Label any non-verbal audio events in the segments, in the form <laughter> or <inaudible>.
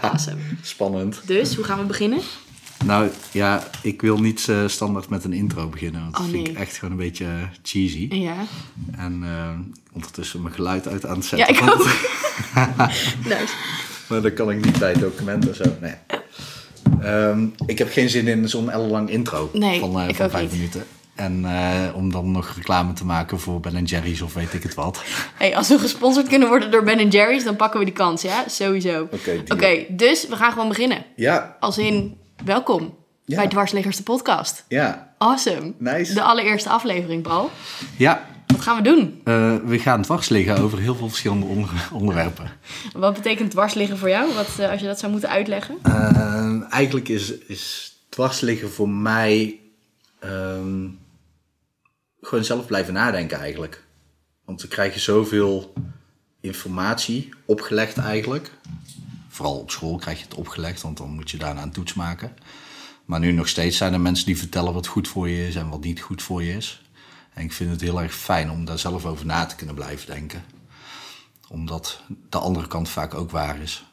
Awesome. Spannend. Dus, hoe gaan we beginnen? Nou ja, ik wil niet eh, standaard met een intro beginnen. Want dat Oh, vind nee. ik echt gewoon een beetje eh, cheesy. Ja. En eh, ondertussen mijn geluid uit aan het Ja, zetten. ik want- ook. <laughs> <laughs> nou, Maar dat kan ik niet bij documenten en zo. Nee. Ehm, ik heb geen zin in zo'n ellenlang intro Nee, van, eh, ik van ook vijf niet. minuten. En eh, om dan nog reclame te maken voor Ben Jerry's of weet ik het wat. hey, als we gesponsord kunnen worden door Ben Jerry's, dan pakken we die kans, ja? Sowieso. Oké, Oké, deal. dus we gaan gewoon beginnen. Ja, Als in, welkom Ja. bij Dwarsliggers de podcast. ja, Awesome. Nice. De allereerste aflevering, Paul. ja. Wat gaan we doen? eh, we gaan dwars liggen over heel veel verschillende onder- onderwerpen. Wat betekent dwarsliggen voor jou? Wat, eh, als je dat zou moeten uitleggen? Ehm, eigenlijk is, is dwarsliggen voor mij ehm, gewoon zelf blijven nadenken eigenlijk. Want we krijgen zoveel informatie opgelegd eigenlijk. Vooral op school krijg je het opgelegd, want dan moet je daarna een toets maken. Maar nu nog steeds zijn er mensen die vertellen wat goed voor je is en wat niet goed voor je is. En ik vind het heel erg fijn om daar zelf over na te kunnen blijven denken. Omdat de andere kant vaak ook waar is.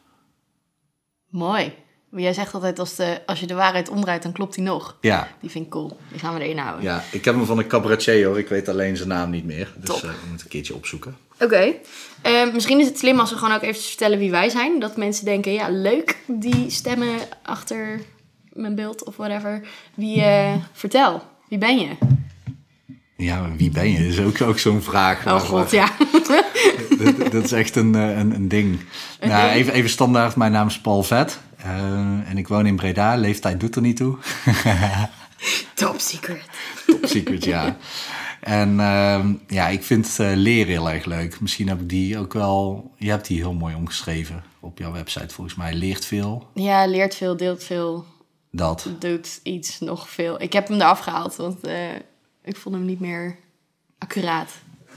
Mooi. Maar jij zegt altijd, als, de, als je de waarheid omdraait, dan klopt die nog. Ja, Die vind ik cool. Die gaan we erin houden. Ja, ik heb hem van een cabaretier hoor. Ik weet alleen zijn naam niet meer. Dus Top. eh, ik moet een keertje opzoeken. Oké. Eh, misschien is het slim als we gewoon ook even vertellen wie wij zijn. Dat mensen denken, ja, leuk, die stemmen achter mijn beeld of whatever. Wie, eh, vertel, wie ben je? Ja, maar wie ben je? Dat is ook, ook zo'n vraag. Oh waar- god, ja. <laughs> dat, dat is echt een, eh, een, een ding. Nou, even, even standaard, mijn naam is Paul Vet. eh, en ik woon in Breda. Leeftijd doet er niet <laughs> toe. <laughs> Top secret. Top secret, ja. En ehm, ja, ik vind eh, leren heel erg leuk. Misschien heb ik die ook wel... Je hebt die heel mooi omgeschreven op jouw website volgens mij. Leert veel, Ja, leert veel, deelt veel, dat. doet iets, nog veel. Ik heb hem eraf gehaald, want eh, ik vond hem niet meer accuraat.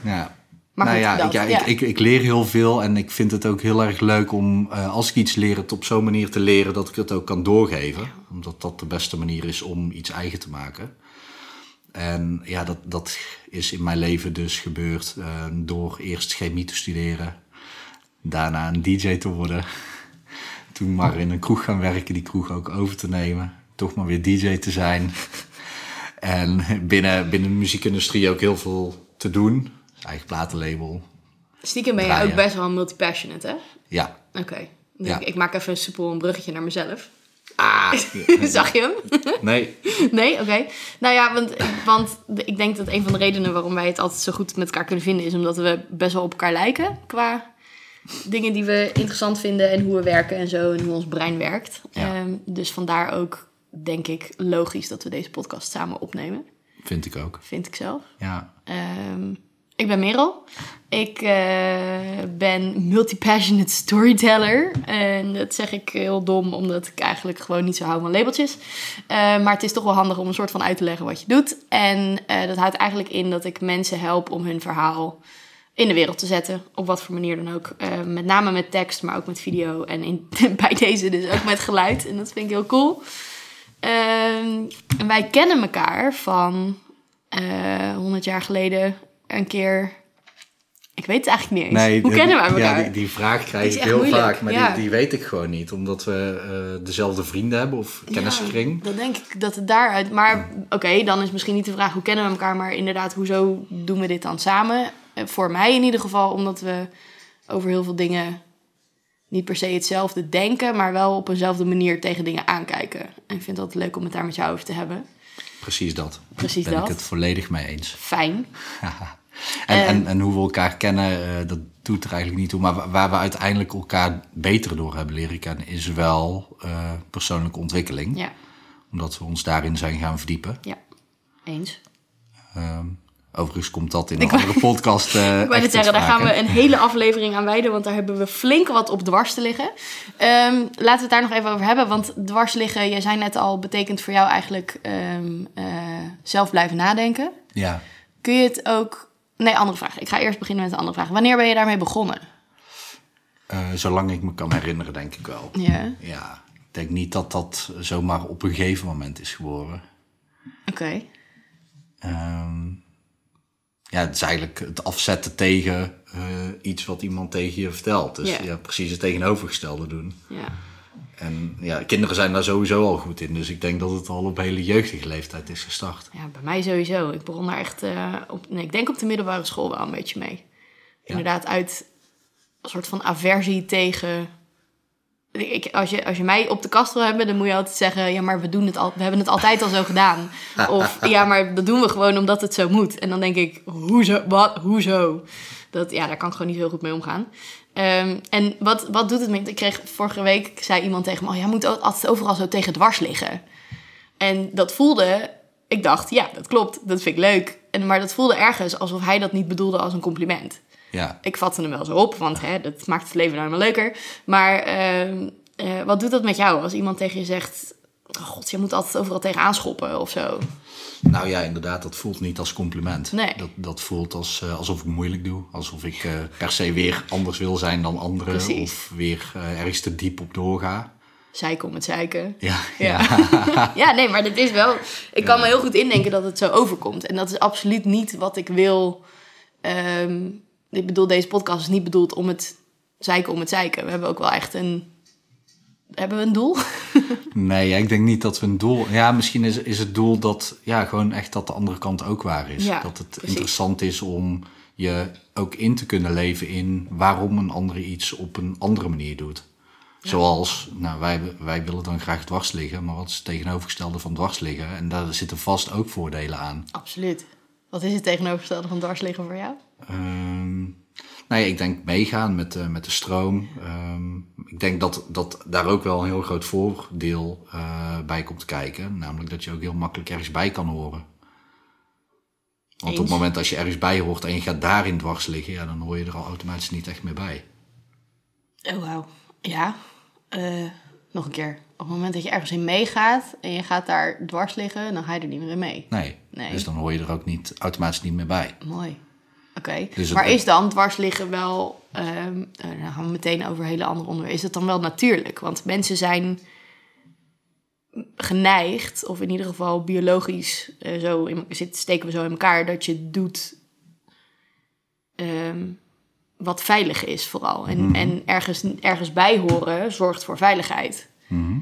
Ja. Maar nou goed, ja, dat, ik, ja, ik- ja. Ik, ik, leer heel veel en ik vind het ook heel erg leuk om, eh, als ik iets leer, het op zo'n manier te leren dat ik het ook kan doorgeven. Omdat dat de beste manier is om iets eigen te maken. En ja, dat, dat is in mijn leven dus gebeurd eh, door eerst chemie te studeren, daarna een DJ te worden. <laughs> Toen maar in een kroeg gaan werken, die kroeg ook over te nemen. Toch maar weer DJ te zijn. <laughs> En binnen, binnen de muziekindustrie ook heel veel te doen. Eigen platenlabel. Stiekem ben je Draaien. ook best wel multipassionate, hè? Ja. Oké. Dus Ja. ik, ik maak even soepel een bruggetje naar mezelf. <laughs> Ah, Zag je hem? nee. <laughs> Nee, oké. Nou ja, want, want ik denk dat een van de redenen waarom wij het altijd zo goed met elkaar kunnen vinden is omdat we best wel op elkaar lijken qua dingen die we interessant vinden en hoe we werken en zo en hoe ons brein werkt. Ja. Ehm, dus vandaar ook, denk ik, logisch dat we deze podcast samen opnemen, Vind ik ook. vind ik zelf. Ja. Ehm, ik ben Merel. Ik eh, ben multipassionate storyteller. En dat zeg ik heel dom, omdat ik eigenlijk gewoon niet zo hou van labeltjes. Eh, maar het is toch wel handig om een soort van uit te leggen wat je doet. En eh, dat houdt eigenlijk in dat ik mensen help om hun verhaal in de wereld te zetten. Op wat voor manier dan ook. Eh, met name met tekst, maar ook met video. En in, <laughs> bij deze dus ook met geluid. En dat vind ik heel cool. Ehm, en wij kennen elkaar van eh 100 jaar geleden een keer. Ik weet het eigenlijk niet eens. Hoe de- kennen wij elkaar? Ja, die, die vraag Die krijg is ik echt heel moeilijk, vaak, maar ja. die, die weet ik gewoon niet. Omdat we eh, dezelfde vrienden hebben of kennisgekring. Ja, dan denk ik dat het daaruit. Maar oké, dan is misschien niet de vraag hoe kennen we elkaar, maar inderdaad, hoezo doen we dit dan samen? Eh, Voor mij in ieder geval, omdat we over heel veel dingen niet per se hetzelfde denken, maar wel op eenzelfde manier tegen dingen aankijken. En ik vind het altijd leuk om het daar met jou over te hebben. Precies dat. Precies ben dat. ik het volledig mee eens. Fijn. En, en, en hoe we elkaar kennen, eh, dat doet er eigenlijk niet toe. Maar wa- waar we uiteindelijk elkaar beter door hebben leren kennen, is wel eh, persoonlijke ontwikkeling. Ja, Omdat we ons daarin zijn gaan verdiepen. ja. Eens. Ehm, overigens komt dat in een andere podcast. eh <laughs> Ik wou net echt zeggen, ter daar gaan sprake. we een hele aflevering aan wijden, want daar hebben we flink wat op dwars te liggen. Ehm, laten we het daar nog even over hebben, want dwars liggen, jij zei net al, betekent voor jou eigenlijk ehm, eh, zelf blijven nadenken. Ja. Kun je het ook... Nee, andere vraag. Ik ga eerst beginnen met een andere vraag. Wanneer ben je daarmee begonnen? Eh, zolang ik me kan herinneren, denk ik wel. Ja, Ja. Ik denk niet dat dat zomaar op een gegeven moment is geworden. oké. Ehm, ja, het is eigenlijk het afzetten tegen eh, iets wat iemand tegen je vertelt. Dus Ja. ja, precies het tegenovergestelde doen. Ja. En ja, kinderen zijn daar sowieso al goed in. Dus ik denk dat het al op hele jeugdige leeftijd is gestart. Ja, bij mij sowieso. Ik begon daar echt eh, op, nee, ik denk op de middelbare school wel een beetje mee. Inderdaad, uit een soort van aversie tegen. Ik, als, je, als je mij op de kast wil hebben, dan moet je altijd zeggen: Ja, maar we, doen het al, we hebben het altijd al zo gedaan. Of ja, maar dat doen we gewoon omdat het zo moet. En dan denk ik: Hoezo? Wat? Hoezo? Dat, ja, daar kan ik gewoon niet heel goed mee omgaan. Ehm, en wat, wat doet het me? Ik kreeg vorige week, zei iemand tegen me: oh, Jij moet al- altijd overal zo tegen dwars liggen. En dat voelde, ik dacht, ja, dat klopt, dat vind ik leuk. En, maar dat voelde ergens alsof hij dat niet bedoelde als een compliment. Ja, Ik vatte hem wel zo op, want hè, dat maakt het leven nou helemaal leuker. Maar ehm, eh, wat doet dat met jou als iemand tegen je zegt... "Oh, God, je moet altijd overal tegenaan schoppen of zo. nou ja, inderdaad, dat voelt niet als compliment. Nee. Dat, dat voelt als, eh, alsof ik moeilijk doe. Alsof ik eh, per se weer anders wil zijn dan anderen. Precies. Of weer eh, ergens te diep op doorga. Zeiken om het zeiken. Ja, Ja. <laughs> ja, nee, maar dit is wel... Ik kan me heel goed indenken dat het zo overkomt. En dat is absoluut niet wat ik wil. Ehm, ik bedoel, deze podcast is niet bedoeld om het zeiken om het zeiken. We hebben ook wel echt een... Hebben we een doel? <laughs> Nee, ja, ik denk niet dat we een doel. Ja, misschien is, is het doel dat. Ja, gewoon echt dat de andere kant ook waar is. Ja, dat het precies. interessant is om je ook in te kunnen leven in waarom een ander iets op een andere manier doet. Zoals, nou, wij, wij willen dan graag dwars liggen, maar wat is het tegenovergestelde van dwars liggen? En daar zitten vast ook voordelen aan. Absoluut. Wat is het tegenovergestelde van dwars liggen voor jou? Ehm, nee, ik denk meegaan met, de- met de stroom. Ehm, ik denk dat, dat daar ook wel een heel groot voordeel eh, bij komt kijken. Namelijk dat je ook heel makkelijk ergens bij kan horen. Want op Eens. het moment dat je ergens bij hoort en je gaat daarin dwars liggen, ja, dan hoor je er al automatisch niet echt meer bij. Oh, wauw. Ja. Eh, nog een keer. Op het moment dat je ergens in meegaat en je gaat daar dwars liggen, dan ga je er niet meer in mee. Nee. Nee. Dus dan hoor je er ook niet, automatisch niet meer bij. Mooi. Oké. Dus het- maar is dan dwars liggen wel... ehm eh, dan gaan we meteen over hele andere onderwerpen. Is dat dan wel natuurlijk? Want mensen zijn geneigd, of in ieder geval biologisch, eh, zo in, zit, steken we zo in elkaar, dat je doet ehm, wat veilig is vooral. En, Mhm. en ergens, ergens bij horen zorgt voor veiligheid. Mhm.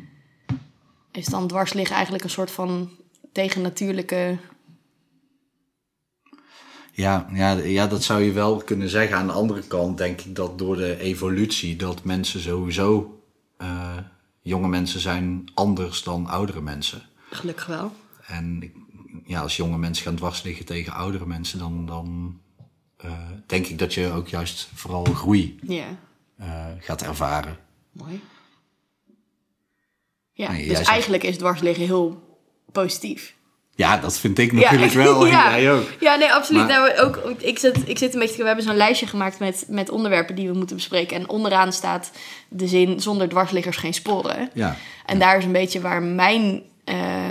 Is dan dwars liggen eigenlijk een soort van tegennatuurlijke... Ja, ja, ja, dat zou je wel kunnen zeggen. Aan de andere kant denk ik dat door de evolutie dat mensen sowieso eh, jonge mensen zijn anders dan oudere mensen. Gelukkig wel. En ik- ja, als jonge mensen gaan dwarsliggen tegen oudere mensen, dan, dan eh, denk ik dat je ook juist vooral groei Ja. eh, gaat ervaren. Mooi. Ja, Nee, dus jij zegt- eigenlijk is dwarsliggen heel positief. Ja, dat vind ik natuurlijk <laughs> wel. En jij ook. Ja, nee, absoluut. Maar- Nou, ook, ik, zit, ik zit een beetje... We hebben zo'n lijstje gemaakt met, met onderwerpen die we moeten bespreken. En onderaan staat de zin... zonder dwarsliggers geen sporen. Ja. En daar is een beetje waar mijn, eh,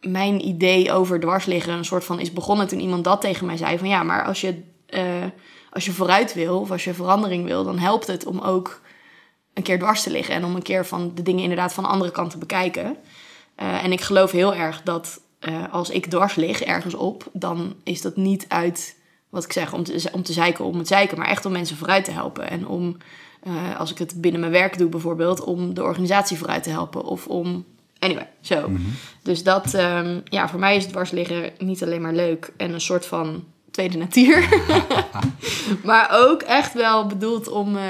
mijn idee over dwarsliggen een soort van is begonnen toen iemand dat tegen mij zei. Van ja, maar als je, eh, als je vooruit wil of als je verandering wil, dan helpt het om ook een keer dwars te liggen. En om een keer van de dingen inderdaad van de andere kant te bekijken. Eh, en ik geloof heel erg dat eh, als ik dwars lig ergens op, dan is dat niet uit wat ik zeg om te, om te zeiken om het zeiken, maar echt om mensen vooruit te helpen. En om, eh, als ik het binnen mijn werk doe bijvoorbeeld, om de organisatie vooruit te helpen of om. Anyway, zo. Dus dat, ehm, ja, voor mij is het dwars liggen niet alleen maar leuk en een soort van tweede natuur, <laughs> maar ook echt wel bedoeld om. eh,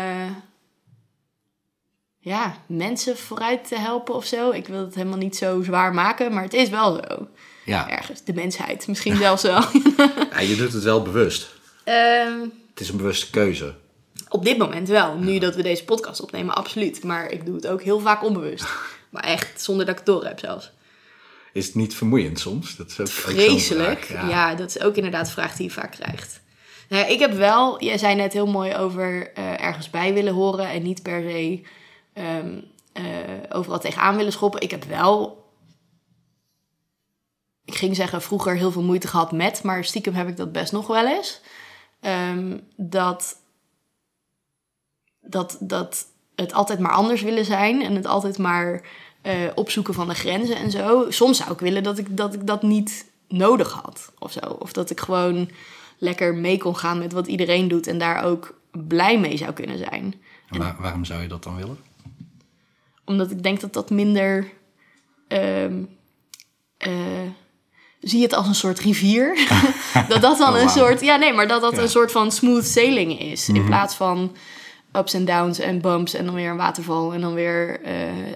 ja, mensen vooruit te helpen of zo. Ik wil het helemaal niet zo zwaar maken, maar het is wel zo. Ja. Ergens, de mensheid. Misschien zelfs wel. ja, je doet het wel bewust. Ehm, Het is een bewuste keuze. op dit moment wel. Nu dat we deze podcast opnemen, absoluut. Maar ik doe het ook heel vaak <laughs> onbewust. Maar echt, zonder dat ik het door heb zelfs. Is het niet vermoeiend soms? Dat is ook, ook zo'n Vreselijk. vraag, ja. dat is ook inderdaad een vraag die je vaak krijgt. Nou ja, ik heb wel, jij zei net heel mooi over eh, ergens bij willen horen en niet per se ehm, eh, overal tegenaan willen schoppen. Ik heb wel, ik ging zeggen vroeger heel veel moeite gehad met, maar stiekem heb ik dat best nog wel eens. Ehm, dat, dat, dat het altijd maar anders willen zijn en het altijd maar eh, opzoeken van de grenzen en zo. Soms zou ik willen dat ik dat, ik dat niet nodig had of zo. Of dat ik gewoon lekker mee kon gaan met wat iedereen doet en daar ook blij mee zou kunnen zijn. En waar- waarom zou je dat dan willen? Omdat ik denk dat dat minder. ehm, eh, zie het als een soort rivier. <laughs> dat dat dan Oh, een wauw. soort. Ja, nee, maar dat dat Ja. Mhm. een soort van smooth sailing is. In plaats van ups en downs en bumps en dan weer een waterval en dan weer. eh, eh,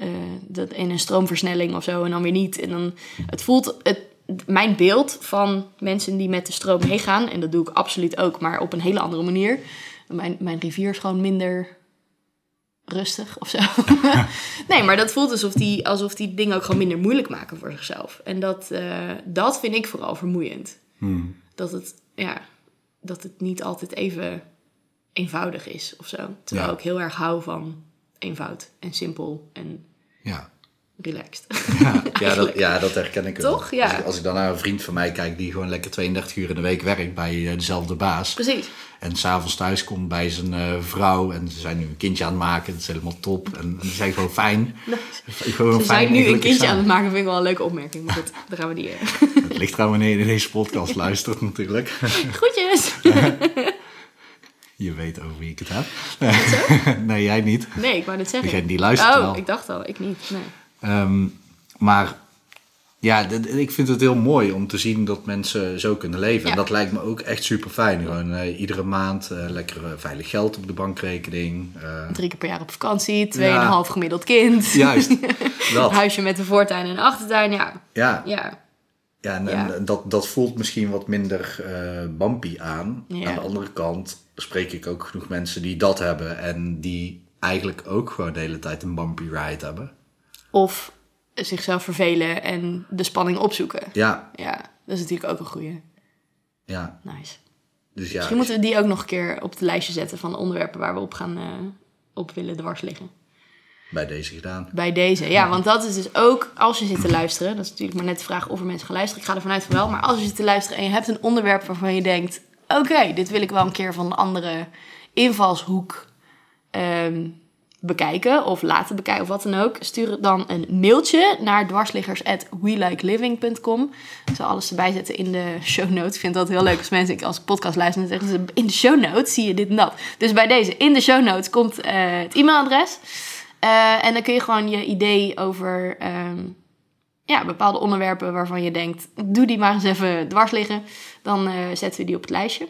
eh, dat in een stroomversnelling of zo en dan weer niet. En dan, het voelt, het, mijn beeld van mensen die met de stroom meegaan, en dat doe ik absoluut ook, maar op een hele andere manier. Mijn, mijn rivier is gewoon minder rustig of zo. <laughs> nee, maar dat voelt alsof die, alsof die dingen ook gewoon minder moeilijk maken voor zichzelf. En dat, eh, dat vind ik vooral vermoeiend. Dat, het, ja, dat het niet altijd even eenvoudig is of zo. Terwijl Ja. ik heel erg hou van eenvoud en simpel en Ja. relaxed. Ja, dat, ja, dat herken ik Toch? wel. Ja. Als, ik, als ik dan naar een vriend van mij kijk die gewoon lekker 32 uur in de week werkt bij eh, dezelfde baas. <laughs> Precies. En s'avonds thuis komt bij zijn eh, vrouw en ze zijn nu een kindje aan het maken. Dat is helemaal top. En, en ze zijn gewoon fijn. Gewoon Ze zijn nu een kindje aan het het maken, vind ik wel een leuke opmerking. Maar goed, daar gaan we niet eh, in. maken. Het ligt aan wanneer je deze podcast luistert natuurlijk. <laughs> <laughs> Groetjes! Je weet over wie ik het heb. <laughs> nee, jij niet. Nee, ik wou net zeggen. Degene die luistert Oh, wel. ik dacht al. Ik niet. Nee. Ehm, maar ja, d- d- ik vind het heel mooi om te zien dat mensen zo kunnen leven. Ja. En dat lijkt me ook echt super fijn. Gewoon eh, iedere maand eh, lekker eh, veilig geld op de bankrekening. eh, Drie keer per jaar op vakantie, tweeënhalf gemiddeld kind. juist, Een <laughs> dat. huisje met een voortuin en een achtertuin, ja. Ja, Ja, ja, en, Ja. en dat, dat voelt misschien wat minder eh bumpy aan. Ja. Aan de andere kant spreek ik ook genoeg mensen die dat hebben. En die eigenlijk ook gewoon de hele tijd een bumpy ride hebben. of zichzelf vervelen en de spanning opzoeken. Ja, Ja, dat is natuurlijk ook een goeie. ja. Nice. Dus ja, Misschien moeten we die ook nog een keer op het lijstje zetten van de onderwerpen waar we op gaan eh, op willen dwars liggen. bij deze gedaan. Bij deze, ja, want dat is dus ook als je zit te luisteren. Dat is natuurlijk maar net de vraag of er mensen gaan luisteren. Ik ga ervan uit van wel. Maar als je zit te luisteren en je hebt een onderwerp waarvan je denkt: oké, dit wil ik wel een keer van een andere invalshoek ehm, bekijken of laten bekijken of wat dan ook. Stuur het dan een mailtje naar dwarsliggers@welikeliving.com. Ik zal alles erbij zetten in de show notes. Ik vind dat heel leuk als mensen ik als podcast luisteren en zeggen ze in de show notes zie je dit en dat. Dus bij deze in de show notes komt eh, het e-mailadres. Eh, en dan kun je gewoon je idee over ehm, ja, bepaalde onderwerpen waarvan je denkt, doe die maar eens even dwars liggen. Dan eh, zetten we die op het lijstje.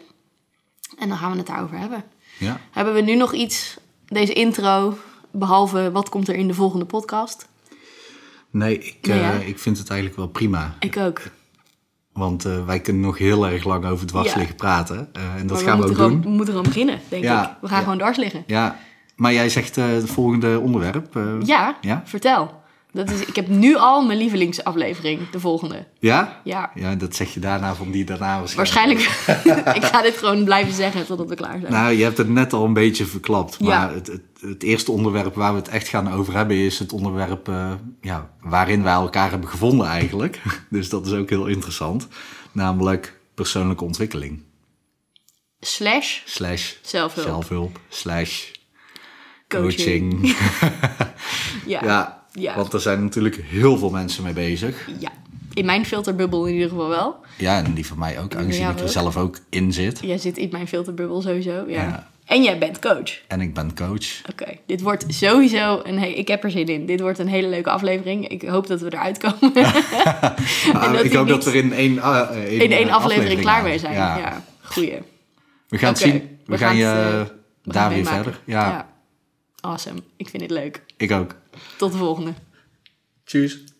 En dan gaan we het daarover hebben. Ja. Hebben we nu nog iets, deze intro, behalve wat komt er in de volgende podcast? Nee, ik, Nee, eh, hè? ik vind het eigenlijk wel prima. Ik ook. Want eh, wij kunnen nog heel erg lang over dwars Ja. liggen praten. Eh, en dat Maar gaan we ook moeten doen. gewoon, we moeten gewoon beginnen, denk Ja, ik. We gaan ja. gewoon dwars liggen. Ja, maar jij zegt eh, het volgende onderwerp. eh, Ja, Ja? vertel. Dat is, ik heb nu al mijn lievelingsaflevering, de volgende. ja? Ja, Ja, dat zeg je daarna van die daarna waarschijnlijk. waarschijnlijk. <laughs> ik ga dit gewoon blijven zeggen totdat we klaar zijn. Nou, je hebt het net al een beetje verklapt. Ja. Maar het, het, het eerste onderwerp waar we het echt gaan over hebben... is het onderwerp eh, ja, waarin wij elkaar hebben gevonden eigenlijk. <laughs> Dus dat is ook heel interessant. Namelijk persoonlijke ontwikkeling. Slash Slash zelfhulp. zelfhulp. Slash Coaching. coaching. <laughs> Ja. Ja. Ja, want er zijn natuurlijk heel veel mensen mee bezig. In mijn filterbubbel in ieder geval wel. Ja, en die van mij ook, aangezien Ja, ik er ook. zelf ook in zit. Jij zit in mijn filterbubbel sowieso. Ja. Ja. En jij bent coach. En ik ben <laughs> coach. Oké, dit wordt sowieso een he- Ik heb er zin in. Dit wordt een hele leuke aflevering. Ik hoop dat we eruit <laughs> komen. Ah, dat ik die hoop niet dat we in één, ah, eh, in één eh, aflevering klaar mee aan- zijn. Ja, Ja. goeie. We gaan Oké, het zien. We, we gaan, gaan je het, eh, eh, daar weer Meemaken. verder. Ja, ja. Awesome. Ik vind het leuk. ik ook. Tot de volgende. Tjus.